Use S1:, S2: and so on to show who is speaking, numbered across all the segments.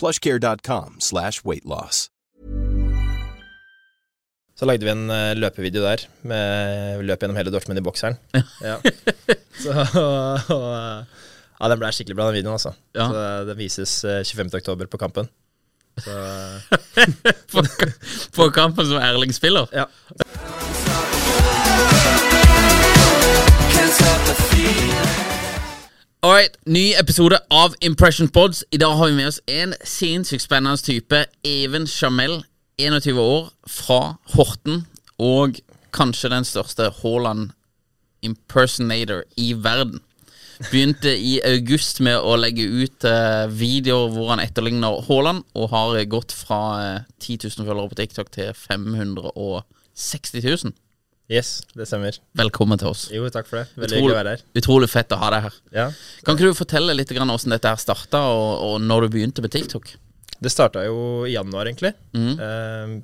S1: plushcare.com slash weight loss.
S2: Så lagde vi en eh, løpevideo der, med løp gjennom hele Dortmund i bokseren. Ja. Så, og, og, ja, den ble skikkelig bra, den videoen, altså.
S3: Ja.
S2: Så den vises eh, 25. oktober på Kampen. Så,
S3: på, på kampen som Erling spiller.
S2: ja.
S3: Alright, ny episode av Impression Pods. I dag har vi med oss en sinnssykt spennende type. Even Chamel, 21 år, fra Horten. Og kanskje den største Haaland impersonator i verden. Begynte i august med å legge ut eh, videoer hvor han etterligner Haaland, og har eh, gått fra eh, 10 000 følgere på TikTok til 560 000.
S2: Yes, det stemmer.
S3: Velkommen til oss.
S2: Jo, takk for det. Veldig hyggelig å være
S3: Utrolig,
S2: her.
S3: utrolig fett å ha deg her.
S2: Ja.
S3: Kan ikke du fortelle litt grann hvordan dette her starta, og, og når du begynte med TikTok?
S2: Det starta jo i januar, egentlig. Mm.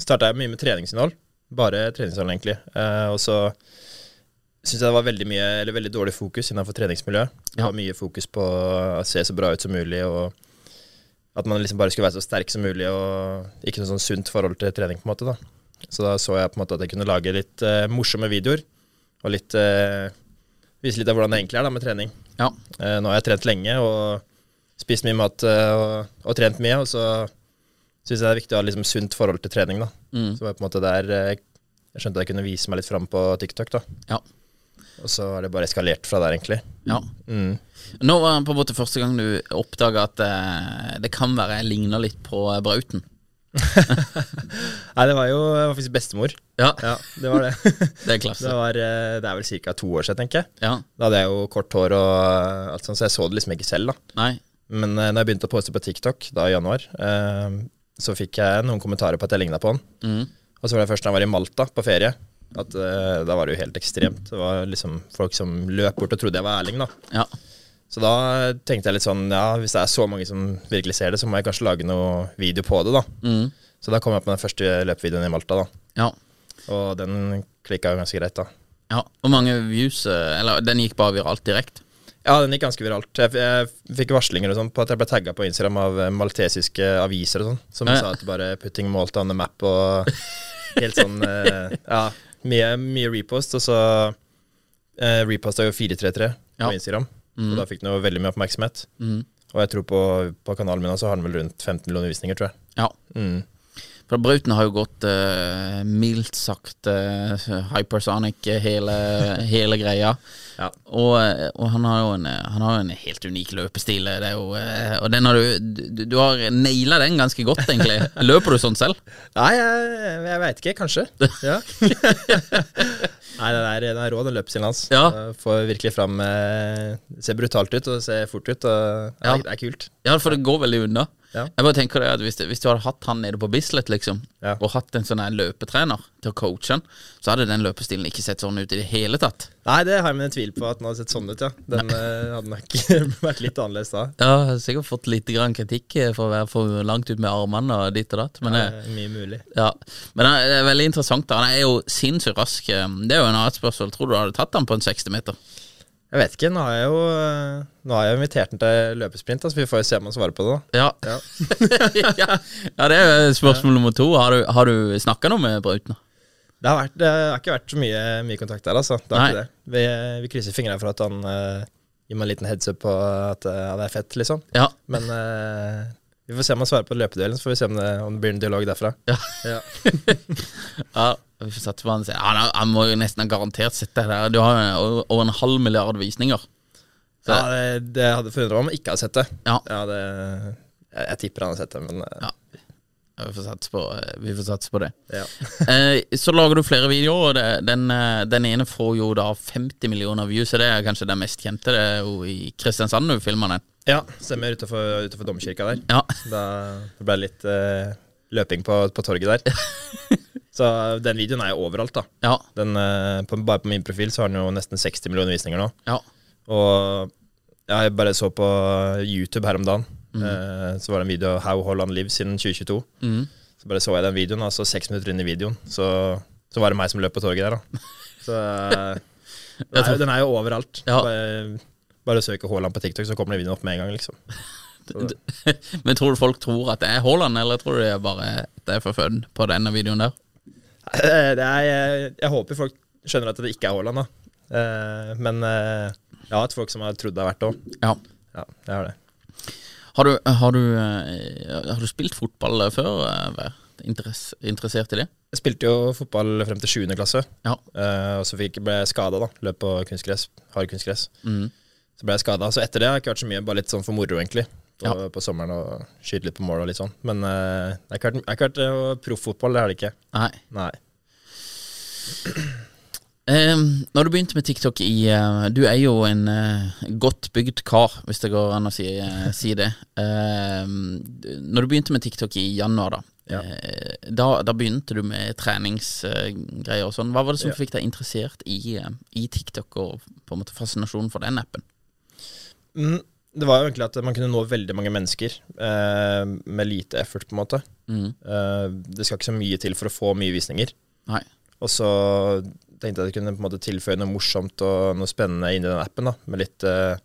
S2: starta jeg mye med treningsinnhold. Bare treningsinnhold, egentlig. Eh, og så syns jeg det var veldig mye, eller veldig dårlig fokus innenfor treningsmiljøet. Det
S3: Ja.
S2: var mye fokus på å se så bra ut som mulig, og at man liksom bare skulle være så sterk som mulig, og ikke noe sånn sunt forhold til trening, på en måte. da. Så da så jeg på en måte at jeg kunne lage litt eh, morsomme videoer, og litt eh, vise litt av hvordan det egentlig er da med trening.
S3: Ja.
S2: Eh, Nå har jeg trent lenge og spist mye mat eh, og, og trent mye, og så syns jeg det er viktig å ha liksom sunt forhold til trening. da. Så var på en måte der eh, jeg skjønte at jeg kunne vise meg litt fram på TikTok, da.
S3: Ja.
S2: Og så har det bare eskalert fra der, egentlig. Mm.
S3: ja. Nå var det på en måte første gang du oppdaga at eh, det kan være jeg ligner litt på eh, Brauten.
S2: Nei, det var jo det var faktisk bestemor.
S3: Ja,
S2: Ja, det var det.
S3: det er
S2: det,
S3: klasse.
S2: var, eh, det er vel ca. to år siden, tenker jeg.
S3: Ja,
S2: Da hadde jeg jo kort hår og eh, alt sånt, så jeg så det liksom ikke selv, da.
S3: nei.
S2: Men eh, når jeg begynte å poste på TikTok da i januar, eh, så fikk jeg noen kommentarer på at jeg ligna på han. Og så var det først da jeg var i Malta på ferie, at eh, da var det jo helt ekstremt. Det var liksom folk som løp bort og trodde jeg var Erling, da.
S3: Ja.
S2: Så da tenkte jeg litt sånn, ja, hvis det er så mange som virkelig ser det, så må jeg kanskje lage noe video på det, da. Så da kom jeg på den første løpevideoen i Malta, da.
S3: ja.
S2: Og den klikka jo ganske greit, da.
S3: Ja, Hvor mange views eh, Eller den gikk bare viralt direkte.
S2: Ja, den gikk ganske viralt. Jeg, f- jeg f- fikk varslinger og sånn på at jeg ble tagga på Instagram av eh, maltesiske aviser og sånn, som
S3: Ja.
S2: sa at bare 'putting Malta on the map' og helt sånn eh, Ja, mye, mye repost. Og så eh, reposta jo 433
S3: Ja. Mm.
S2: på Instagram, og da fikk den jo veldig mye oppmerksomhet. Og jeg tror på, på kanalen min også har den vel rundt 15 millioner visninger, tror jeg.
S3: Ja.
S2: Mm.
S3: For Brauten har jo gått eh, mildt sagt eh, hypersonic eh, hele, hele greia.
S2: Ja.
S3: Og, eh, og han har jo en, eh, han har jo en helt unik løpestil. eh, Det er jo, eh, og den har du, du, du har naila den ganske godt, egentlig. Løper du sånn selv?
S2: Nei, jeg, jeg veit ikke. Kanskje. Ja. Nei, den er, den er rå, den løpestilen hans.
S3: Ja.
S2: Den Får virkelig fram eh, Ser brutalt ut og ser fort ut. Og, ja.
S3: Ja.
S2: Det er kult.
S3: Ja, for det går veldig unna.
S2: Ja.
S3: Jeg bare tenker det at hvis, hvis du hadde hatt han nede på Bislett, liksom,
S2: Ja.
S3: og hatt en sånn her løpetrener til å coache han, så hadde den løpestilen ikke sett sånn ut i det hele tatt.
S2: Nei, det har jeg mine tvil på at den hadde sett sånn ut, ja. Den eh, hadde nok vært litt annerledes da.
S3: Ja, sikkert fått litt grann kritikk eh, for å være for langt ut med armene og ditt og datt, men eh,
S2: Eh, Mye mulig.
S3: Ja, men eh, det er veldig interessant. da Han er jo sinnssykt rask. eh, Det er jo en annet spørsmål. Tror du du hadde tatt han på en 60-meter?
S2: Jeg vet ikke, nå har jeg jo eh, Nå har jeg jo invitert den til løpesprint, da, så vi får jo se om han svarer på det. da.
S3: Ja. ja. det er jo spørsmål nummer to. Har du, har du snakka noe med Brauten?
S2: Det har, vært, det har ikke vært så mye, mye kontakt der, altså. Det har
S3: Nei.
S2: ikke det. Vi, eh, vi krysser fingrene for at han eh, gir meg en liten heads up på at eh, han er fett, liksom.
S3: Ja.
S2: Men eh, vi får se om han svarer på løpeduellen, så får vi se om det, om det blir en dialog derfra.
S3: Ja.
S2: Ja.
S3: ja. Vi får satse på han. Ja, han, har- han må jo nesten ha garantert sett det der. Du har jo over en halv milliard visninger. Så,
S2: Ja, det, det hadde forundret meg om han ikke hadde sett det.
S3: Ja.
S2: det jeg, jeg tipper han har sett det, men eh,
S3: Ja. Vi får satse på, vi får satse på det.
S2: ja.
S3: Eh, så lager du flere videoer, og det, den, eh, den ene får jo da 50 millioner views, så det er kanskje den mest kjente. Det er jo i Kristiansand du filmer den.
S2: ja. Stemmer utenfor, utenfor domkirka der.
S3: Ja.
S2: Da det ble litt eh, løping på, på torget der. Så eh, den videoen er jo overalt, da.
S3: Ja.
S2: Den, eh, på, bare på min profil så har den jo nesten 60 millioner visninger nå.
S3: Ja.
S2: Og jeg bare så på YouTube her om dagen. Eh, så var det en video av How Holland Lives siden 2022. Så bare så jeg den videoen, og så seks minutter inn i videoen, så, så var det meg som løp på torget der, da. Så eh, den er, jo- den er jo overalt.
S3: Ja.
S2: Bare, bare søk Haaland på TikTok, så kommer den videoen opp med en gang, liksom.
S3: Men tror du folk tror at det er Haaland, eller tror du det er bare det er for fun på denne videoen der?
S2: Eh, Det er, jeg, jeg håper folk skjønner at det ikke er Haaland, da. Eh, men eh, jeg har hatt folk som har trodd det har vært det òg.
S3: Ja.
S2: Ja, jeg har det.
S3: Har du, har du, eh, har du spilt fotball før? eh, Vær? Interess, interessert i det?
S2: Jeg spilte jo fotball frem til 7. klasse.
S3: Ja.
S2: Eh, og så fikk, ble jeg skada, da. Løp på kunstgress. Hard kunstgress. Så ble jeg skada. Så etter det har jeg ikke vært så mye, bare litt sånn for moro, egentlig. På,
S3: Ja.
S2: på sommeren og skyte litt på mål og litt sånn. Men eh, det har ikke vært, jeg har ikke vært eh, profffotball, det har det ikke.
S3: Nei.
S2: Nei.
S3: Um, når du begynte med TikTok i eh, Du er jo en eh, godt bygd kar, hvis det går an å si, eh, si det. Um, når du begynte med TikTok i januar, da
S2: Ja.
S3: eh, da, da begynte du med treningsgreier og sånn. Hva var det som fikk deg interessert i, eh, i TikTok og på en måte fascinasjonen for den appen?
S2: Mm, det var jo egentlig at man kunne nå veldig mange mennesker eh, med lite effort, på en måte. Eh, det skal ikke så mye til for å få mye visninger.
S3: Nei.
S2: Og så tenkte jeg at jeg kunne på en måte tilføye noe morsomt og noe spennende inn i den appen. da, Med litt, eh,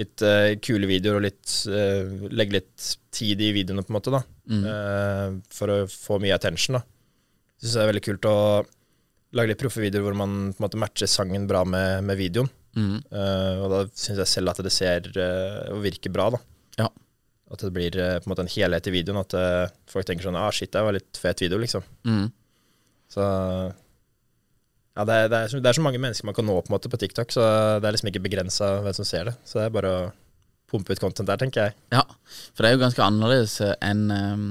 S2: litt eh, kule videoer og litt, eh, legge litt tid i videoene, på en måte. da, Eh, For å få mye attention. da. Syns det er veldig kult å lage litt proffe videoer hvor man på en måte matcher sangen bra med, med videoen. Eh, og da syns jeg selv at det ser eh, og virker bra. da.
S3: Ja.
S2: At det blir eh, på en måte en helhet i videoen. At eh, folk tenker sånn ah, shit, det var litt fet video, liksom.
S3: Mm.
S2: Så ja, det, er, det, er så, det er så mange mennesker man kan nå på, en måte, på TikTok, så det er liksom ikke begrensa hvem som ser det. Så det er bare å pumpe ut content der, tenker jeg.
S3: Ja, for det er jo ganske annerledes eh, enn eh,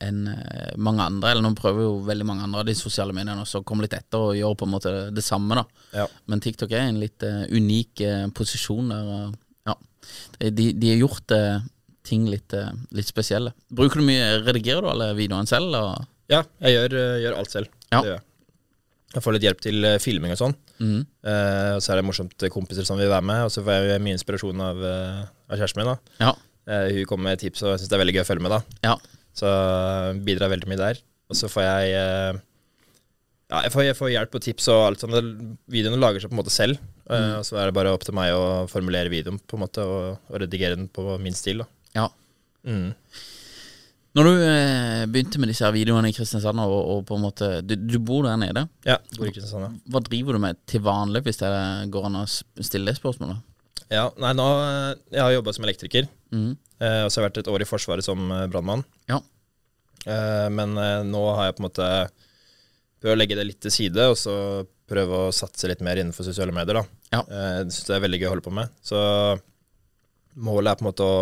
S3: enn eh, mange andre. Eller nå prøver jo veldig mange andre av de sosiale mediene også å komme litt etter og gjøre på en måte det samme. da
S2: Ja.
S3: Men TikTok er i en litt eh, unik eh, posisjon der. og, ja, de, de har gjort eh, ting litt, eh, litt spesielle. Bruker du mye Redigerer du alle videoene selv? Og,
S2: Ja, jeg gjør, eh, gjør alt selv.
S3: Ja.
S2: Det gjør jeg. Jeg får litt hjelp til eh, filming og sånn. Eh, og så er det morsomt eh, kompiser som vil være med, og så får jeg jo mye inspirasjon av, eh, av kjæresten min. da.
S3: ja,
S2: Eh, hun kommer med tips, og jeg syns det er veldig gøy å følge med. da.
S3: ja,
S2: Så eh, bidrar veldig mye der. Og så får jeg eh, Ja, jeg får, jeg får hjelp og tips og alt sånt. Det- Videoene lager seg på en måte selv. eh, Og så er det bare opp til meg å formulere videoen på en måte og, og redigere den på min stil. da.
S3: ja. Når du eh, begynte med disse her videoene i Kristiansand, og, og på en måte du, du bor der nede,
S2: Ja, bor i Kristiansand, sånn, ja.
S3: hva driver du med til vanlig, hvis det går an å sp- stille det spørsmålet?
S2: ja. Nei, nå eh, Jeg har jobba som elektriker. eh, Og så har jeg vært et år i Forsvaret som eh, brannmann.
S3: Ja.
S2: Eh, Men eh, nå har jeg på en måte prøvd å legge det litt til side, og så prøve å satse litt mer innenfor sosiale medier. da.
S3: Ja.
S2: Eh, Jeg syns det er veldig gøy å holde på med. Så målet er på en måte å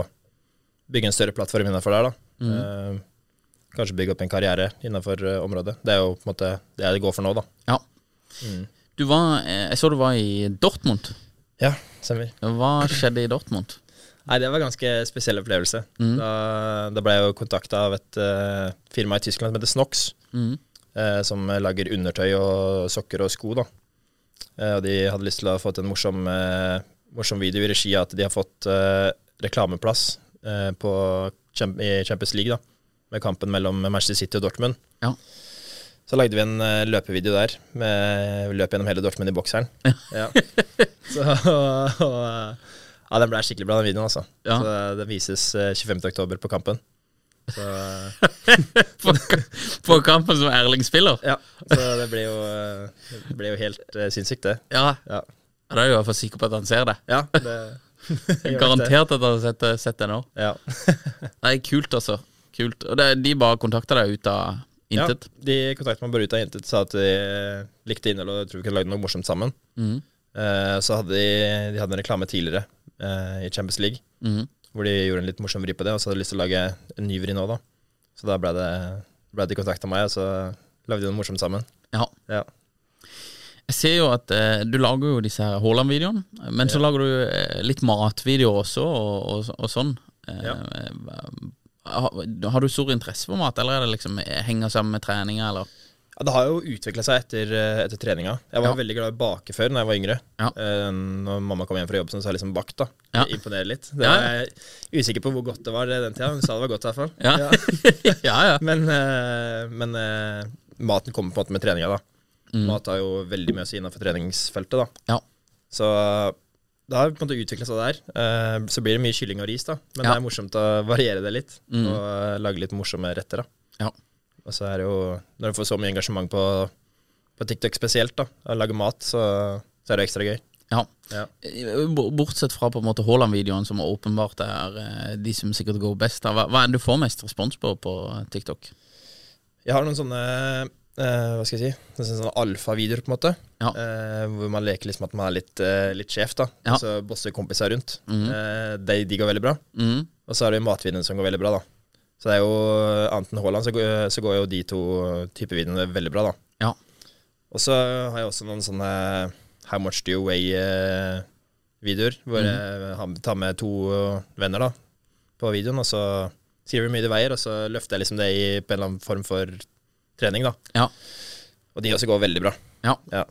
S2: bygge en større plattform innenfor der. da. Eh, Kanskje bygge opp en karriere innenfor eh, området. Det er jo på en måte det jeg går for nå, da.
S3: ja. Du var, eh, jeg så du var i Dortmund.
S2: Ja, stemmer.
S3: Hva skjedde i Dortmund?
S2: Nei, det var en ganske spesiell opplevelse. Da, da ble jeg jo kontakta av et eh, firma i Tyskland som heter Snox. eh, som lager undertøy og sokker og sko. da. Eh, og de hadde lyst til å få til en morsom, eh, morsom video i regi av at de har fått eh, reklameplass eh, på, Champ- i Champions League, da, med kampen mellom Manchester City og Dortmund.
S3: Ja.
S2: Så lagde vi en eh, løpevideo der. Med løp gjennom hele Dortmund i bokseren. Ja. Så, og, eh, ja, den ble skikkelig bra, den videoen. altså.
S3: Ja.
S2: Så Den vises eh, 25. oktober på Kampen. Så,
S3: På, på kampen som Erling spiller?
S2: ja. så det blir jo, eh, det blir jo helt eh, sinnssykt, det.
S3: Ja.
S2: Ja,
S3: Ja, Da er jeg i hvert fall sikker på at han ser det.
S2: ja det gjør nok det.
S3: Garantert at han har sett, sett det nå.
S2: Ja.
S3: Nei, kult, altså. Kult. Og det, de bare kontakta deg ut av
S2: Ja,
S3: intet?
S2: de kontaktet meg bare ut av intet, sa at de eh, likte innholdet og jeg tror vi kunne lagd noe morsomt sammen.
S3: Mhm.
S2: Eh, så hadde de, de hadde en reklame tidligere eh, i Champions League,
S3: Mhm.
S2: hvor de gjorde en litt morsom vri på det, og så hadde de lyst til å lage en ny vri nå, da. Så da ble, det, ble de kontakta meg, og så lagde de noe morsomt sammen.
S3: Ja.
S2: Ja.
S3: Jeg ser jo at eh, du lager jo disse her Haaland-videoene, men så lager du eh, litt matvideoer også, og, og, og sånn. Eh,
S2: Ja.
S3: har, har du stor interesse for mat, eller er det liksom eh, henger sammen med treninga, eller?
S2: Ja, det har jo utvikla seg etter, eh, etter treninga. Jeg var
S3: Ja.
S2: veldig glad i å bake før da jeg var yngre.
S3: Ja.
S2: Eh, når mamma kom hjem fra jobb, så har jeg liksom bakt. da
S3: Ja.
S2: Det Imponerer litt. Det
S3: Ja, ja.
S2: er jeg usikker på hvor godt det var eh, den tida. Hun sa det var godt i hvert fall.
S3: Ja,
S2: Ja.
S3: ja. ja.
S2: Men, eh, men eh, maten kommer på en måte med treninga, da. Mat har jo veldig mye å si innenfor treningsfeltet, da.
S3: ja.
S2: Så det har på en måte utvikla seg der. Eh, så blir det mye kylling og ris, da. Men
S3: Ja.
S2: det er morsomt å variere det litt, og eh, lage litt morsomme retter, da.
S3: ja.
S2: Og så er det jo Når du får så mye engasjement på, på TikTok spesielt, da, å lage mat, så, så er det ekstra gøy.
S3: Ja.
S2: Ja.
S3: Eh, b- Bortsett fra på en måte Haaland-videoen, som åpenbart er eh, de som sikkert går best. da. Hva, hva er det du får mest respons på på TikTok?
S2: Jeg har noen sånne eh, hva skal jeg si? Noen Sånne alfavideoer, på en måte.
S3: Ja.
S2: Eh, hvor man leker liksom at man er litt, eh, litt sjef, da.
S3: Ja. Mhm.
S2: Og så bosser kompiser rundt. Eh, de, de går veldig bra.
S3: Mm.
S2: Og så er det jo matvideoene som går veldig bra, da. Så det er jo Annet enn Haaland, så, går- eh, så går jo de to typer videoene veldig bra, da.
S3: Ja.
S2: Og så har jeg også noen sånne How much do you weigh-videoer, hvor jeg har- tar med to eh, venner da, på videoen, og så skriver vi hvor mye de veier, og så løfter jeg liksom det i på en eller annen form for trening. da.
S3: Ja.
S2: Og de også går veldig bra.
S3: Ja.
S2: Ja.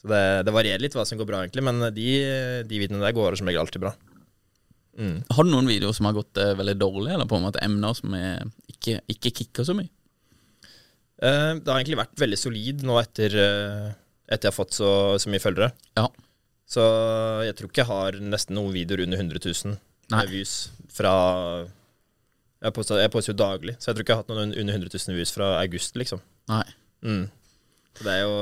S2: Så det, det varierer litt hva som går bra, egentlig, men de, de videoene der går som regel alltid bra.
S3: Har du noen videoer som har gått eh, veldig dårlig, eller på en måte emner som er, ikke, ikke kicker så mye?
S2: Eh, det har egentlig vært veldig solid nå etter, eh, etter jeg har fått så, så mye følgere.
S3: Ja.
S2: Så jeg tror ikke jeg har nesten noen videoer under 100 000
S3: Nei.
S2: views fra jeg poster, jeg poster jo daglig, så jeg tror ikke jeg har hatt noen under 100 000 views fra august, liksom.
S3: Nei.
S2: Mm. Så det er jo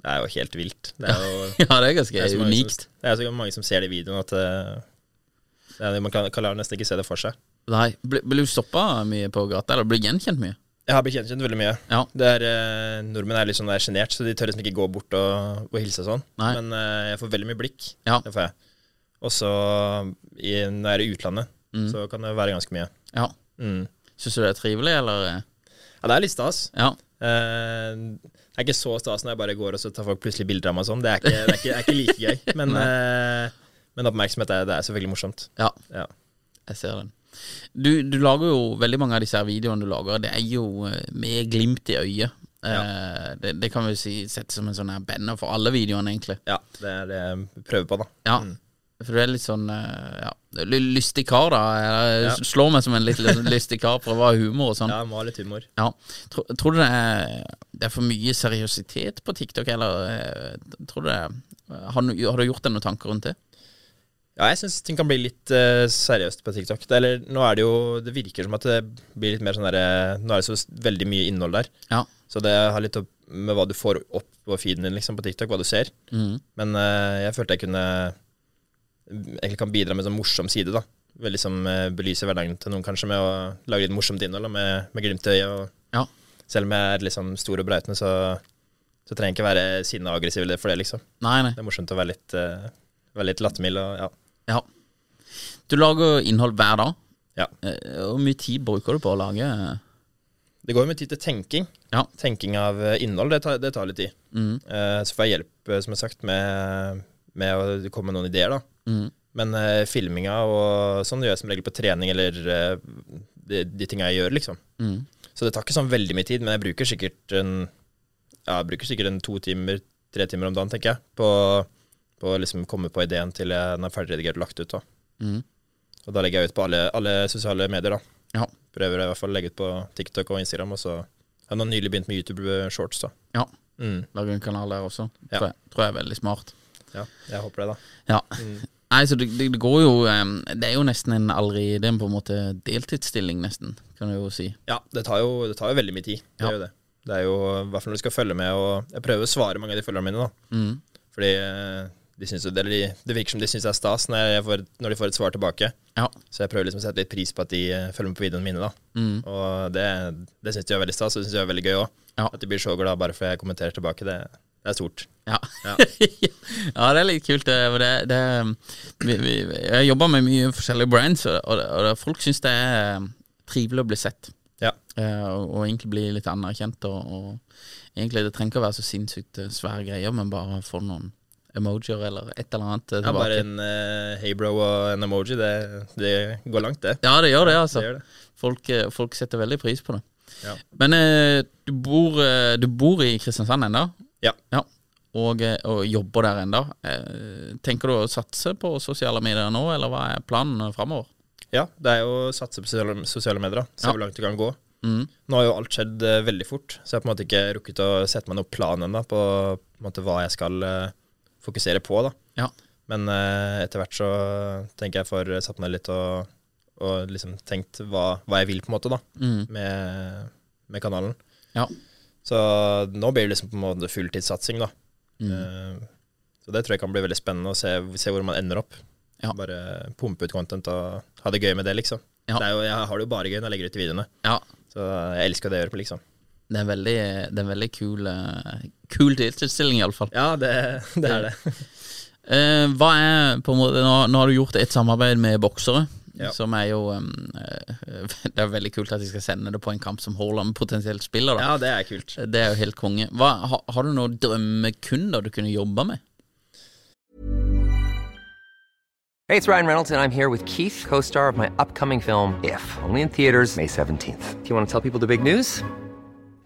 S2: Det er jo helt vilt. Det er jo
S3: Ja, det er ganske
S2: det er så mange
S3: unikt.
S2: Som, det er så mange som ser de videoene at eh, det er, man kan, kan nesten ikke se det for seg.
S3: Nei. Blir blir du stoppa mye på gata, eller blir du gjenkjent mye?
S2: Jeg har blitt gjenkjent veldig mye.
S3: Ja.
S2: Det er, eh, nordmenn er litt sånn sjenert, så de tør liksom ikke gå bort og, og hilse og sånn.
S3: Nei.
S2: Men eh, jeg får veldig mye blikk.
S3: Ja.
S2: Det får jeg. Og så i- når jeg er i utlandet,
S3: Mm.
S2: så kan det være ganske mye.
S3: Ja.
S2: Mm.
S3: Syns du det er trivelig, eller? eh?
S2: Ja, det er litt stas.
S3: Ja.
S2: Eh, det er ikke så stas når jeg bare går og så tar folk plutselig bilder av meg og sånn. Det, er ikke- det, er ikke- det er ikke like gøy. Men, eh, men oppmerksomhet er, det er selvfølgelig morsomt.
S3: ja.
S2: Ja.
S3: Jeg ser den. Du, du lager jo veldig mange av disse her videoene du lager, det er jo eh, med glimt i øyet. Eh, det, det kan vi si sette som en sånn her banner for alle videoene, egentlig.
S2: ja, det er det jeg prøver på, da.
S3: Ja. For du er litt sånn eh, ja, ly- lystig kar, da. Jeg eh,
S2: Ja.
S3: s- Slår meg som en litt liksom, lystig kar, prøver å ha humor og sånn.
S2: Ja, jeg må ha litt humor.
S3: Ja. Tro, tror du det er, det er for mye seriøsitet på TikTok, eller eh, tror du det er- eh, har, du- har du gjort deg noen tanker rundt det?
S2: Ja, jeg syns ting kan bli litt eh, seriøst på TikTok. Det, eller, nå er det jo Det virker som at det blir litt mer sånn derre Nå er det så s- veldig mye innhold der.
S3: Ja.
S2: Så det har litt opp med hva du får opp på feeden din liksom, på TikTok, hva du ser. Men eh, jeg følte jeg kunne Egentlig kan bidra med en sånn morsom side. da Vel, liksom eh, Belyse hverdagen til noen, kanskje, med å lage litt morsomt innhold da, med, med glimt i øyet. og
S3: Ja.
S2: Selv om jeg er liksom stor og brautende, så, så trenger jeg ikke være sinna og aggressiv eller for det, liksom.
S3: Nei, nei.
S2: Det er morsomt å være litt, uh, være litt lattermild og ja.
S3: Ja. Du lager innhold hver dag.
S2: ja.
S3: Eh, Hvor mye tid bruker du på å lage eh,
S2: Det går jo med tid til tenking.
S3: Ja.
S2: Tenking av eh, innhold, det tar, det tar litt tid. Eh, så får jeg hjelp, eh, som jeg har sagt, med, med å komme med noen ideer, da. Men eh, filminga og sånn gjør jeg som regel på trening eller eh, de, de tinga jeg gjør, liksom. Så det tar ikke sånn veldig mye tid, men jeg bruker sikkert en, ja, jeg bruker sikkert en to timer, tre timer om dagen, tenker jeg, på, på å liksom komme på ideen til jeg- den er ferdigredigert og lagt ut. Da. Og da legger jeg ut på alle, alle sosiale medier. da.
S3: Ja.
S2: Prøver jeg i hvert fall å legge ut på TikTok og Instagram, og så jeg har nå nylig begynt med YouTube-shorts. da.
S3: ja. Lage en kanal der også.
S2: Ja.
S3: Tror, jeg, tror jeg er veldig smart.
S2: Ja, jeg håper det, da.
S3: Ja. Nei, så det, det, det går jo em, Det er jo nesten en allerede Det er på en måte deltidsstilling, nesten, kan du jo si.
S2: Ja, det tar jo, det tar jo veldig mye tid. Det
S3: Ja.
S2: er jo det. Det er jo i hvert fall når du skal følge med, og jeg prøver å svare mange av de følgerne mine, da. Fordi eh, de syns jo det, eller de, det virker som de syns det er stas når, jeg får, når de får et svar tilbake.
S3: Ja.
S2: Så jeg prøver liksom å sette litt pris på at de eh, følger med på videoene mine, da. Og det, det syns de er veldig stas, og det syns de er veldig gøy òg.
S3: Ja.
S2: At de blir så glad bare fordi jeg kommenterer tilbake, det, det er stort.
S3: Ja. ja. det er litt kult. Det, for det, det, vi, vi, jeg jobber med mye forskjellige brands, og, og, det- og det- folk syns det er em, trivelig å bli sett.
S2: Ja.
S3: Eh, og, og egentlig bli litt anerkjent. Og, og egentlig Det trenger ikke å være så sinnssykt eh, svære greier, men bare få noen emojier eller et eller annet eh,
S2: Ja,
S3: tilbake.
S2: bare en eh, hey bro og en emoji, det, det går langt, det.
S3: Ja, det gjør det, altså.
S2: Det gjør det.
S3: Folk, eh, folk setter veldig pris på det.
S2: Ja.
S3: Men eh, du, bor, eh, du bor i Kristiansand ennå,
S2: Ja.
S3: ja. og, eh, og jobber der ennå. Eh, tenker du å satse på sosiale medier nå, eller hva er planen framover?
S2: Ja, det er jo å satse på sosiale, sosiale medier. da. Se
S3: Ja. Mm.
S2: hvor langt du kan gå. Nå har jo alt skjedd eh, veldig fort, så jeg har på en måte ikke rukket å sette meg noen plan ennå på, på en måte, hva jeg skal eh, fokusere på. da.
S3: Ja.
S2: Men eh, etter hvert så tenker jeg får satt meg litt og, og liksom tenkt hva, hva jeg vil, på en måte, da,
S3: Mm.
S2: med, med kanalen.
S3: Ja.
S2: Så nå blir det liksom på en måte fulltidssatsing, da. Eh, Så det tror jeg kan bli veldig spennende å se, se hvor man ender opp.
S3: Ja.
S2: Bare pumpe ut content og ha det gøy med det, liksom.
S3: Ja.
S2: Det er jo, jeg har det jo bare gøy når jeg legger ut de videoene.
S3: ja.
S2: Så jeg elsker det jeg gjør på, liksom.
S3: Det er veldig, det er en veldig kul, eh, kul deltidsstilling, iallfall.
S2: Ja, det, det er det.
S3: Eh, hva er på en måte, nå, nå har du gjort et samarbeid med boksere,
S2: Ja.
S3: som er jo em, eh, Det er veldig kult at de skal sende det på en kamp som Haaland potensielt spiller. da
S2: Ja, det er kult.
S3: Det er jo helt konge. Hva, har, har du noen drømmekunder du kunne jobba med?
S4: Hey, it's Ryan Reynolds, and I'm here with Keith, co star of my upcoming film, If, only in theaters, May 17th. Do you want to tell people the big news?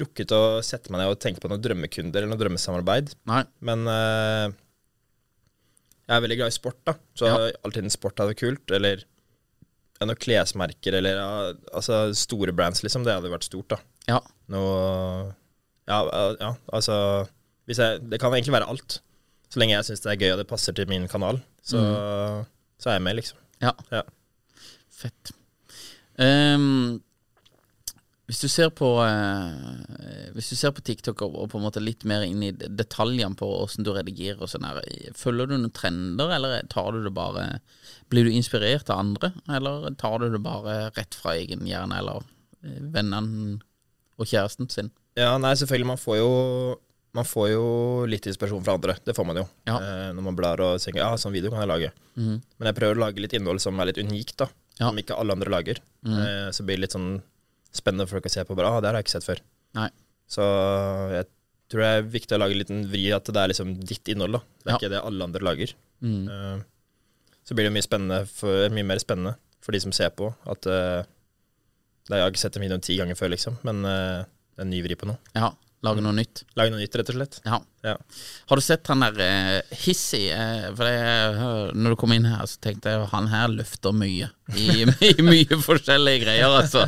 S2: rukket å sette meg ned og tenke på noen drømmekunder eller noe drømmesamarbeid.
S3: Nei.
S2: Men eh, jeg er veldig glad i sport, da. Så alltid en sport hadde vært kult. Eller ja, noen klesmerker, eller ja, altså store brands, liksom. Det hadde vært stort, da.
S3: Ja.
S2: Noe Ja, eh, ja altså hvis jeg, Det kan egentlig være alt. Så lenge jeg syns det er gøy og det passer til min kanal, så, så er jeg med, liksom.
S3: ja.
S2: Ja.
S3: Fett. Ehm, hvis du ser på eh, Hvis du ser på TikTok og, og på en måte litt mer inn i de- detaljene på åssen du redigerer og sånn her, følger du noen trender, eller tar du det bare Blir du inspirert av andre, eller tar du det bare rett fra egen hjerne, eller eh, vennene og kjæresten sin?
S2: Ja, nei, selvfølgelig. Man får jo, man får jo litt inspirasjon fra andre. Det får man jo.
S3: Ja. Mhm.
S2: Eh, når man blar og tenker ja, sånn video kan jeg lage. Men jeg prøver å lage litt innhold som er litt unikt, da.
S3: Ja. Mhm.
S2: Som ikke alle andre lager. Eh, så blir det litt sånn spennende for folk å se på. Bare, ah, det her har jeg ikke sett før.
S3: Nei.
S2: Så jeg tror det er viktig å lage en liten vri at det er liksom ditt innhold, da. Det er
S3: Ja. Mhm.
S2: ikke det alle andre lager. Eh, så blir det mye, spennende for, mye mer spennende for de som ser på. At eh, det- Jeg har ikke sett en video ti ganger før, liksom, men eh, det er en ny vri på noe.
S3: Ja. Lage noe nytt.
S2: Lage noe nytt, rett og slett.
S3: Ja.
S2: Ja.
S3: Har du sett han der eh, hissig? eh, for det, eh, når du kom inn her, så tenkte jeg han her løfter mye. I, i mye forskjellige greier, altså.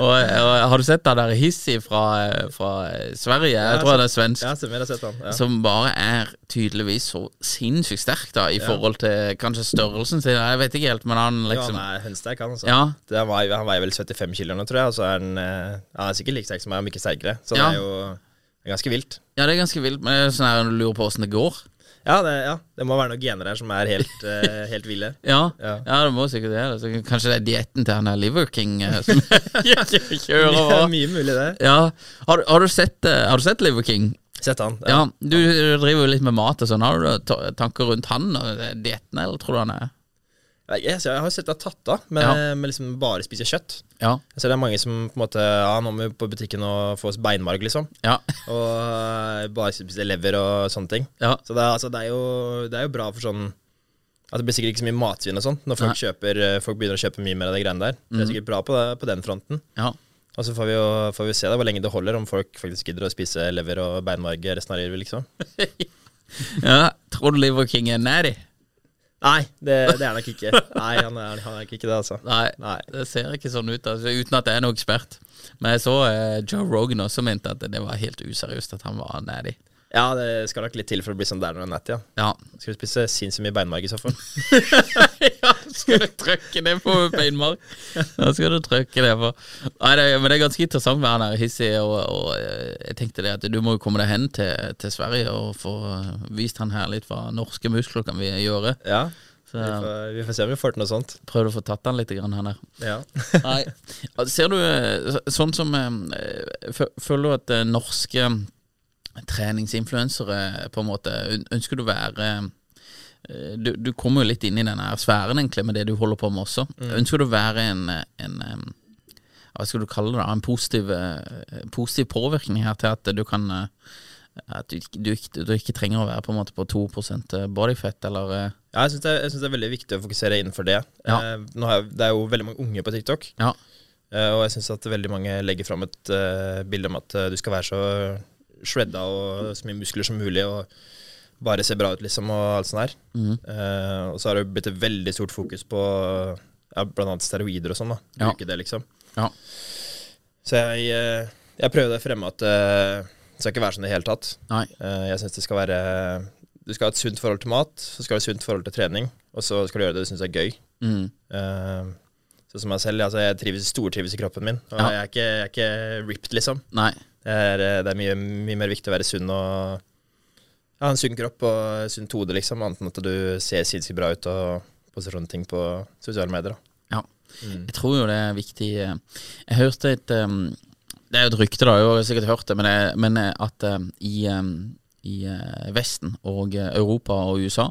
S3: Og, og har du sett han der hissig fra, eh, fra Sverige? Jeg tror det er svensk.
S2: Ja, stemmer, jeg har sett han. Ja.
S3: Som bare er tydeligvis så sinnssykt sterk, da, i forhold til eh, kanskje størrelsen sin. Jeg vet ikke helt, men han liksom
S2: Jo, han er hønsterk, han. Altså.
S3: Ja.
S2: Det, han, veier, han veier vel 75 kilo nå, tror jeg. Og så er han, eh, han er sikkert like sterk som meg, om ikke sterkere. Så
S3: Ja.
S2: det er jo ganske vilt.
S3: Ja, det er ganske vilt, men det er sånn her du lurer på åssen det går.
S2: Ja det, ja, det må være noen gener her som er helt, eh, helt ville.
S3: Ja, ja.
S2: Ja.
S3: det må sikkert det. Så kanskje det er dietten til han der Liver King eh, som
S2: Det er
S3: kjører over.
S2: mye mulig, det.
S3: Ja, har, du- har, du sett, eh, har du sett Liver King?
S2: Sett han.
S3: Ja, Du driver jo litt med mat og sånn. Har du ta- tanker rundt han og eh, dietten, eller tror du han er
S2: Jeg, jeg, jeg har sett det tatt av, men,
S3: Ja.
S2: men liksom bare spiser kjøtt.
S3: Ja.
S2: Jeg ser det er mange som på en måte Ja, nå må vi på butikken og få oss beinmarg, liksom.
S3: Ja.
S2: Og eh, bare spiser lever og sånne ting.
S3: Ja.
S2: Så det er, altså, det er, jo, det er jo bra for sånn At det blir sikkert ikke så mye matsvinn og sånn når folk, kjøper, eh, folk begynner å kjøpe mye mer av de greiene der. Det er sikkert bra på, det, på den fronten.
S3: ja.
S2: Og så får vi jo får vi se da, hvor lenge det holder, om folk faktisk gidder å spise lever og beinmarg resten av livet, liksom.
S3: ja. Tror du Liver King er natty?
S2: Nei, det, det er han nok ikke. Nei, han er, han er nok ikke det, altså.
S3: Nei,
S2: Nei.
S3: det ser ikke sånn ut, altså, uten at jeg er noen ekspert. Men jeg så eh, Joe Rogan også mente at det var helt useriøst at han var natty.
S2: Ja, det skal nok litt til for å bli sånn der når det er nett, ja.
S3: Ja.
S2: Skal du spise sinnssykt mye beinmarg i så fall?
S3: ja, skal du trykke det på beinmark? Da skal du trykke det på. Nei, det, men det er ganske interessant med han her hissig, og, og eh, jeg tenkte det at du må jo komme deg hen til, til Sverige og få eh, vist han her litt hva norske muskler kan vi gjøre.
S2: Ja. Vi
S3: Så jeg
S2: får, vi får se om vi får til noe sånt.
S3: prøvde å få tatt han litt, grann, han her.
S2: Ja.
S3: Nei. Altså, Ser du eh, så- sånn som eh, fø- Føler du at eh, norske treningsinfluensere eh, på en måte øn- Ønsker du å være eh, du, du kommer jo litt inn i denne her sfæren egentlig med det du holder på med også. Ønsker du å være en, eh, en eh, Hva skal du kalle det? da? En positiv, eh, positiv påvirkning her til at du kan eh, At du, ikke- du, ikke- du ikke trenger å være på en måte på 2 bodyfett, eller eh,
S2: Ja, jeg syns det, jeg synes det er veldig viktig å fokusere innenfor det.
S3: Ja.
S2: Eh, nå har jeg, det er jo veldig mange unge på TikTok,
S3: Ja.
S2: eh, og jeg syns at veldig mange legger fram et eh, bilde om at eh, du skal være så shredda og så mye muskler som mulig og bare se bra ut, liksom, og alt sånt der. Eh, og så har det jo blitt et veldig stort fokus på ja, blant annet steroider og sånn, da.
S3: Ja.
S2: Bruke det, liksom.
S3: Ja.
S2: Så jeg, eh, jeg prøvde å fremme at eh, det skal ikke være sånn i det hele tatt.
S3: Nei.
S2: Eh, Jeg synes det skal være Du skal ha et sunt forhold til mat, så skal du ha et sunt forhold til trening, og så skal du gjøre det du syns er gøy.
S3: Mm.
S2: Eh, Sånn som meg selv, altså jeg trives, stortrives i kroppen min. Og
S3: Ja.
S2: jeg, er ikke, jeg er ikke ripped, liksom.
S3: Nei.
S2: Det er, eh, det er mye, mye mer viktig å være sunn og ha en sunn kropp og sunt hode, liksom, annet enn at du ser sinnssykt bra ut og poster sånne ting på sosiale medier. Da.
S3: Ja. Jeg tror jo det er viktig eh, Jeg hørte et ehm, Det er jo et rykte, da, jeg har sikkert hørt det, men, det, men eh, at ehm, i, ehm, i eh, Vesten og eh, Europa og USA,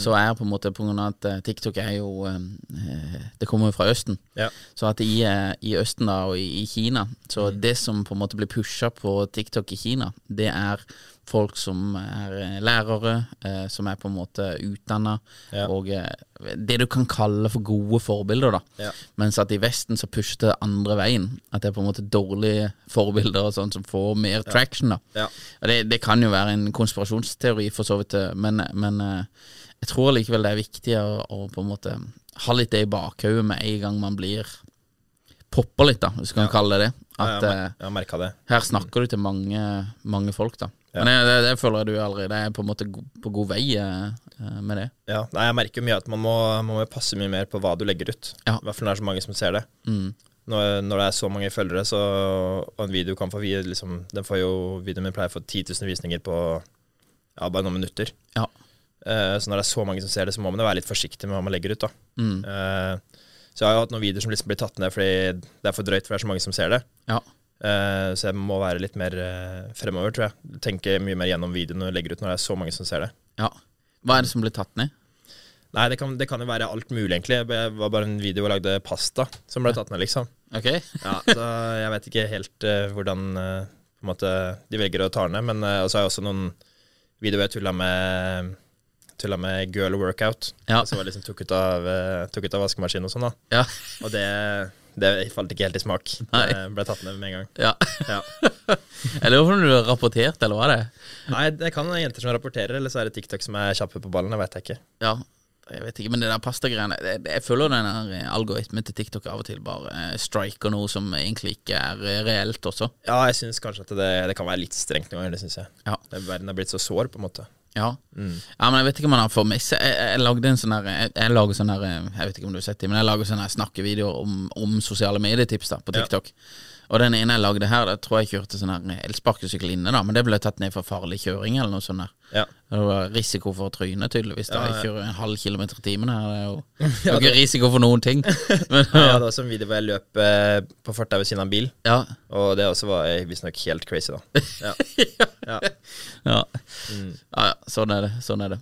S3: så er på en måte på grunn av at eh, TikTok er jo ehm, eh, Det kommer jo fra Østen.
S2: Ja.
S3: Så at i, eh, i Østen da, og i, i Kina Så
S2: Mm.
S3: det som på en måte blir pusha på TikTok i Kina, det er folk som er eh, lærere, eh, som er på en måte utdanna,
S2: Ja.
S3: og eh, det du kan kalle for gode forbilder.
S2: Ja.
S3: da Mens at i Vesten så pushes det andre veien. At det er på en måte dårlige forbilder og sånn som får mer traction. da
S2: Ja.
S3: Og det, det kan jo være en konspirasjonsteori, for så vidt, eh, men, men eh, jeg tror likevel det er viktig å, å på en måte ha litt det i bakhodet med en gang man blir popper litt, da, hvis du kan kalle det det.
S2: Ja,
S3: At
S2: jeg
S3: eh,
S2: mer- jeg har merka det.
S3: her snakker du til mange, mange folk, da. Men jeg, det, det føler jeg du allerede er på en måte go- på god vei eh, eh, med det.
S2: Ja, nei, jeg merker jo mye at man må, man må passe mye mer på hva du legger ut.
S3: Ja.
S2: I hvert fall når det er så mange som ser det. Når, når det er så mange følgere, så og en video kan få vi- liksom, den får jo, Videoen min pleier å få 10 000 visninger på ja, bare noen minutter.
S3: Ja.
S2: Eh, så når det er så mange som ser det, så må man jo være litt forsiktig med hva man legger ut. da. Eh, så jeg har jo hatt noen videoer som liksom blir tatt ned fordi det er for drøyt, for det er så mange som ser det.
S3: Ja.
S2: Eh, så jeg må være litt mer eh, fremover, tror jeg. Tenke mye mer gjennom videoen du legger ut når det er så mange som ser det.
S3: ja. Hva er det som blir tatt ned?
S2: Nei, det kan, det kan jo være alt mulig, egentlig. Det var bare en video hvor jeg lagde pasta som ble tatt ned, liksom.
S3: Ok?
S2: Ja, så jeg vet ikke helt eh, hvordan eh, på en måte, de velger å ta den ned. Men uh, så har jeg også noen videoer jeg tulla med, tulla med girl workout.
S3: Ja.
S2: Som jeg liksom tok ut av, eh, tok ut av vaskemaskinen og sånn, da.
S3: Ja.
S2: Og det, Det falt ikke helt i smak.
S3: Nei.
S2: Jeg ble tatt ned med en gang.
S3: Ja.
S2: Ja.
S3: Jeg lurer på om du rapporterte, eller hva er det?
S2: Nei, det kan være jenter som rapporterer, eller så er det TikTok som er kjappe på ballen. Jeg vet ikke.
S3: Ja, jeg vet ikke, men det der pastagreiene Jeg, jeg føler den der algoritmen til TikTok av og til bare eh, striker noe som egentlig ikke er eh, reelt også.
S2: Ja, jeg syns kanskje at det, det kan være litt strengt noen ganger, det syns jeg.
S3: Ja.
S2: Det- Verden er blitt så sår, på en måte.
S3: Ja.
S2: Mm.
S3: ja, men jeg vet ikke om han har for meg Jeg, jeg, jeg lagde en sånn her jeg, jeg lager sånn her eh, Jeg vet ikke om du har sett det, men jeg lager sånne her snakkevideoer om, om sosiale medietips da på
S2: Ja.
S3: TikTok. Og den ene jeg lagde her, der tror jeg kjørte sånn her eh, elsparkesykkel inne, da, men det ble tatt ned for farlig kjøring eller noe sånt. der
S2: Ja.
S3: Det var risiko for å tryne, tydeligvis. Da. Jeg kjører en halv kilometer i timen her. Det er jo det er
S2: Ja,
S3: jo ikke risiko for noen ting. Men,
S2: Jeg hadde også en video hvor jeg løp eh, på fortauet ved siden av en bil,
S3: ja.
S2: og det også var eh, visstnok helt crazy, da. Ja. Ja.
S3: Ja. ja, ja. Sånn er det. Sånn er det.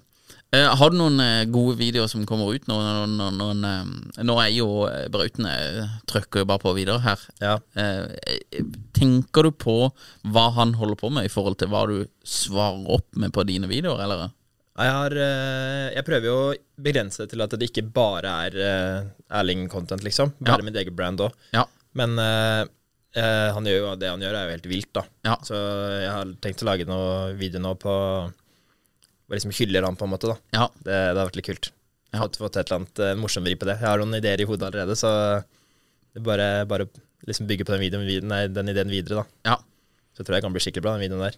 S3: Eh, har du noen eh, gode videoer som kommer ut nå? Nå, nå, nå, eh, nå er jo eh, brautene eh, trøkker jo bare på videre her.
S2: Ja.
S3: Eh, eh, tenker du på hva han holder på med, i forhold til hva du svarer opp med på dine videoer, eller?
S2: Jeg, har, eh, jeg prøver jo å begrense det til at det ikke bare er eh, Erling-content, liksom.
S3: Ja.
S2: Bare mitt eget brand òg.
S3: Ja.
S2: Men eh, eh, han gjør jo, det han gjør, er jo helt vilt, da.
S3: Ja.
S2: Så jeg har tenkt å lage noe video nå på Hvor liksom hyller han, på en måte. da
S3: Ja.
S2: Det, det har vært litt kult. Jeg
S3: Ja.
S2: har fått et eller annet eh, morsomt vri på det. Jeg har noen ideer i hodet allerede, så det er bare, bare liksom bygge på den, videoen, vid- nei, den ideen videre, da.
S3: ja.
S2: Så tror jeg det kan bli skikkelig bra, den videoen der.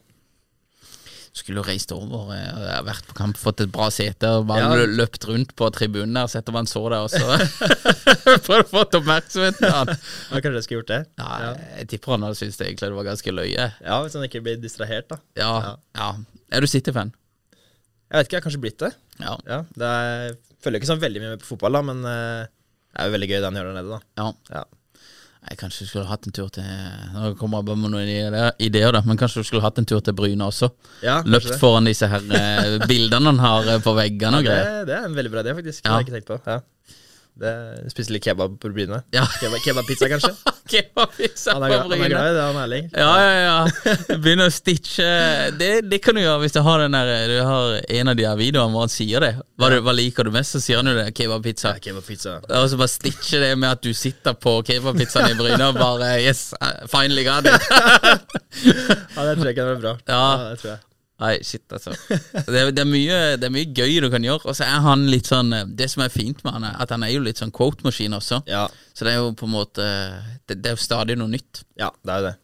S3: Skulle jo reist over, eh, og jeg har vært på kamp, fått et bra sete, og bare
S2: Ja.
S3: lø- løpt rundt på tribunen der, sett om han så det, og så Prøvd å få oppmerksomheten av han.
S2: Ja, kanskje jeg skulle gjort det?
S3: Nei, jeg tipper han hadde syntes det egentlig det var ganske løye.
S2: Ja, Hvis han ikke blir distrahert, da.
S3: Ja, ja. Er du City-fan?
S2: Jeg vet ikke, jeg har kanskje blitt det.
S3: Ja.
S2: Ja, det er, jeg følger ikke sånn veldig mye med på fotball, da, men eh, det er jo veldig gøy det han gjør der nede, da.
S3: ja.
S2: Ja.
S3: Jeg kanskje skulle hatt en tur til Nå kommer jeg bare med noen ideer- ideer, da, men kanskje du skulle hatt en tur til Bryne også?
S2: Ja, kanskje
S3: Løpt
S2: det.
S3: foran disse her eh, bildene han har eh, på veggene og
S2: Det,
S3: greier.
S2: det er en veldig bra idé, faktisk. Det
S3: Ja.
S2: har jeg ikke tenkt på. Ja. Det, spiser litt kebab på brynet.
S3: Ja.
S2: Kebab, kebabpizza, kanskje.
S3: Kebabpizza
S2: Han
S3: på
S2: er, glad- han er
S3: Bryne.
S2: glad i det, han Erling.
S3: Ja, ja, ja. Begynne å stitche. Det, det kan du gjøre hvis du har, den der, eh, du har en av de her videoene hvor han sier det. Hva, du, hva liker du mest, så sier han jo det. Kebabpizza.
S2: Ja, Kebabpizza.
S3: Og så bare stitche det med at du sitter på kebabpizzaen i Bryne og bare Yes, I finally got it.
S2: Ja, det tror jeg kan være bra.
S3: Ja.
S2: det tror jeg.
S3: Nei, shit, altså. Det er, det, er mye, det er mye gøy du kan gjøre. Og så er han litt sånn eh, Det som er fint med han, er at han er jo litt sånn quote-maskin også.
S2: Ja,
S3: Så det er jo på en måte Det, det er jo stadig noe nytt.
S2: ja det er jo det.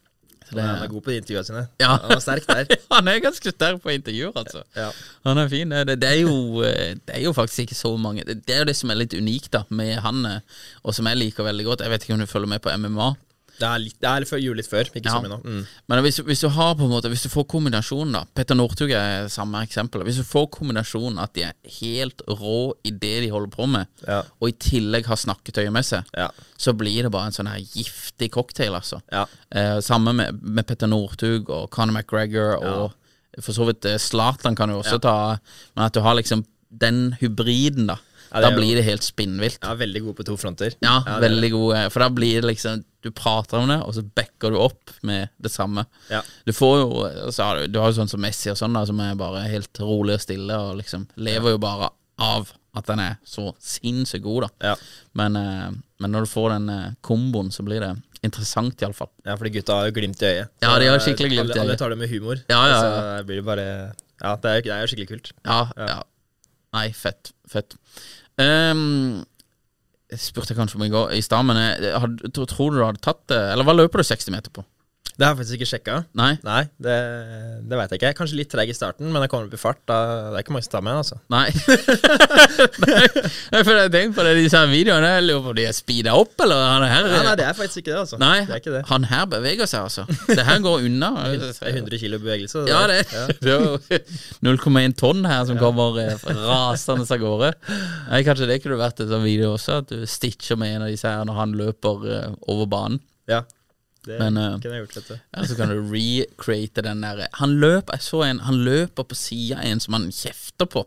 S3: det-
S2: Han er god på de intervjuene sine.
S3: Ja.
S2: Han er sterk der.
S3: Han er ganske sterk på intervjuer, altså.
S2: Ja.
S3: Han er fin. Det, det, er jo, eh, det er jo faktisk ikke så mange Det, det er jo det som er litt unikt da med han, eh, og som jeg liker veldig godt. Jeg vet ikke om du følger med på MMA.
S2: Det er, litt, det er litt før, jo litt før, ikke
S3: Ja.
S2: så mye nå. Mm.
S3: Men hvis, hvis du har på en måte Hvis du får kombinasjonen, da Petter Northug er samme eksempel. Hvis du får kombinasjonen at de er helt rå i det de holder på med,
S2: Ja.
S3: og i tillegg har snakketøyet med seg,
S2: Ja.
S3: så blir det bare en sånn her giftig cocktail, altså.
S2: Ja.
S3: Eh, samme med, med Petter Northug og Conor McGregor og for så vidt eh, Zlatan kan du også ta, men at du har liksom den hybriden, da.
S2: Ja, det
S3: da
S2: er jo-
S3: blir det helt spinnvilt.
S2: Jeg er veldig god på to fronter.
S3: Ja,
S2: det-
S3: veldig god. eh, For da blir det liksom Du prater om det, og så backer du opp med det samme.
S2: Ja.
S3: Du får jo og så har du, du har jo sånn som Messi og sånn, da, som er bare helt rolig og stille, og liksom lever jo bare av at han er så sinnssykt god, da.
S2: Ja.
S3: Men, eh, men når du får den eh, komboen, så blir det interessant, iallfall.
S2: ja, fordi gutta har jo glimt i øyet.
S3: Ja,
S2: Så,
S3: de har
S2: eh,
S3: skikkelig
S2: alle,
S3: glimt i øyet.
S2: alle tar det med humor.
S3: Ja, ja,
S2: Så blir det bare Ja, det er jo, det er jo skikkelig kult.
S3: Ja, ja. Nei, fett. Fett. Ehm, jeg spurte kanskje om i går i stad, men eh, hadde- tro- tror du du hadde tatt det? Eller hva løper du 60 meter på?
S2: Det har jeg faktisk ikke sjekka.
S3: Nei?
S2: Nei, det, det veit jeg ikke. Jeg er Kanskje litt treig i starten, men jeg kommer opp i fart. Da, det er ikke mange som tar meg, altså.
S3: Nei. Nei, for jeg tenker på det, disse her videoene. Jeg lurer på om de er speeda opp, eller han her
S2: Nei, nei, det er faktisk ikke det, altså.
S3: Nei,
S2: Det er ikke det.
S3: han her beveger seg, altså. Det her går unna.
S2: Det er 100 kilo bevegelse.
S3: Ja, det,
S2: der.
S3: det er jo 0,1 tonn her som kommer eh, rasende av gårde. Nei, kanskje det kunne vært en sånn video også, at du stitcher med en av disse her når han løper eh, over banen.
S2: Ja. Det
S3: Men, eh,
S2: kunne jeg gjort, vet du.
S3: Eller så kan du recreate den der Han løper, jeg så en, han løper på sida en som han kjefter på.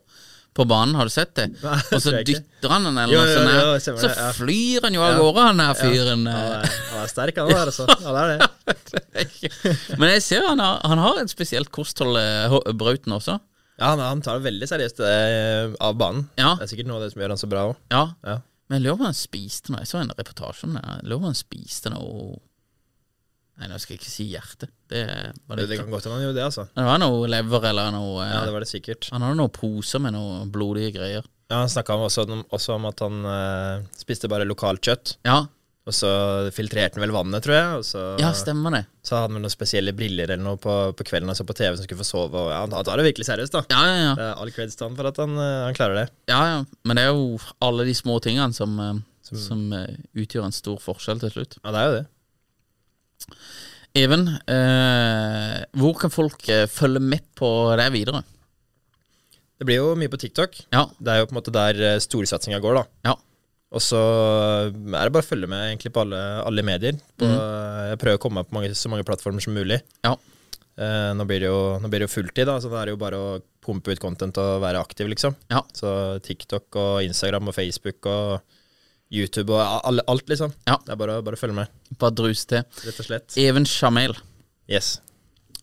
S3: På banen, har du sett det?
S2: Nei, det
S3: Og så
S2: tror jeg ikke.
S3: dytter han den, eller
S2: Jo,
S3: noe
S2: jo, jo,
S3: sånt. her.
S2: jeg ser
S3: så
S2: det, ja.
S3: flyr han jo av gårde, han her fyren.
S2: Han
S3: eh.
S2: er, han er sterk, han der, altså. Han er det.
S3: Men jeg ser han har, han har et spesielt kosthold, eh, H- Brauten også.
S2: Ja, han, han tar det veldig seriøst eh, av banen.
S3: Ja.
S2: Det er sikkert noe av det som gjør han så bra òg.
S3: Ja.
S2: Ja.
S3: Men jeg lurer på om han spiste noe. Jeg så en reportasje om det. Jeg lurer på om han spiste noe Nei, nå skal jeg ikke si hjerte. Det var
S2: Det,
S3: det
S2: det
S3: ikke.
S2: kan godt hende han gjorde det, altså.
S3: Det var noe lever eller noe eh,
S2: Ja, det var det sikkert.
S3: Han hadde noen poser med noe blodige greier.
S2: Ja, Han snakka også, om- også om at han eh, spiste bare lokalt kjøtt.
S3: Ja,
S2: Og så filtrerte han vel vannet, tror jeg. Og så,
S3: ja stemmer det.
S2: så hadde han noen spesielle briller eller noe på, på kvelden han så på TV som skulle få sove. Og, ja, han tar det virkelig seriøst, da.
S3: Ja, ja,
S2: Det
S3: ja.
S2: er all creds til han for at han, eh, han klarer det.
S3: ja, ja. Men det er jo alle de små tingene som, eh, som eh, utgjør en stor forskjell til slutt.
S2: Ja, det er jo det.
S3: Even, eh, hvor kan folk eh, følge med på deg videre?
S2: Det blir jo mye på TikTok.
S3: Ja,
S2: Det er jo på en måte der eh, storsatsinga går, da.
S3: ja.
S2: Og så er det bare å følge med egentlig på alle, alle medier. På, Jeg prøver å komme meg på mange, så mange plattformer som mulig.
S3: Mhm. Ja.
S2: Eh, nå, blir det jo, nå blir det jo fulltid, da, så da er det jo bare å pumpe ut content og være aktiv, liksom.
S3: Ja.
S2: Så TikTok og Instagram og Facebook og YouTube og a- alle, alt, liksom.
S3: Ja.
S2: Det er bare å bare å følge med,
S3: Bare drus til.
S2: rett og slett.
S3: Even Shamel.
S2: Yes.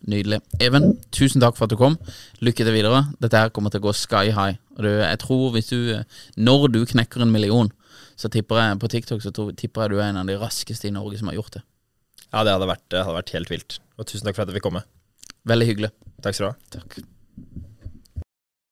S3: Nydelig. Even, tusen takk for at du kom. Lykke til videre. Dette her kommer til å gå sky high. Og du, jeg tror hvis du eh, Når du knekker en million, så tipper jeg på TikTok så tror, tipper jeg du er en av de raskeste i Norge som har gjort det.
S2: Ja, det hadde vært, det hadde vært helt vilt. Og tusen takk for at jeg fikk komme.
S3: Veldig hyggelig.
S2: Takk skal du ha.
S3: Takk.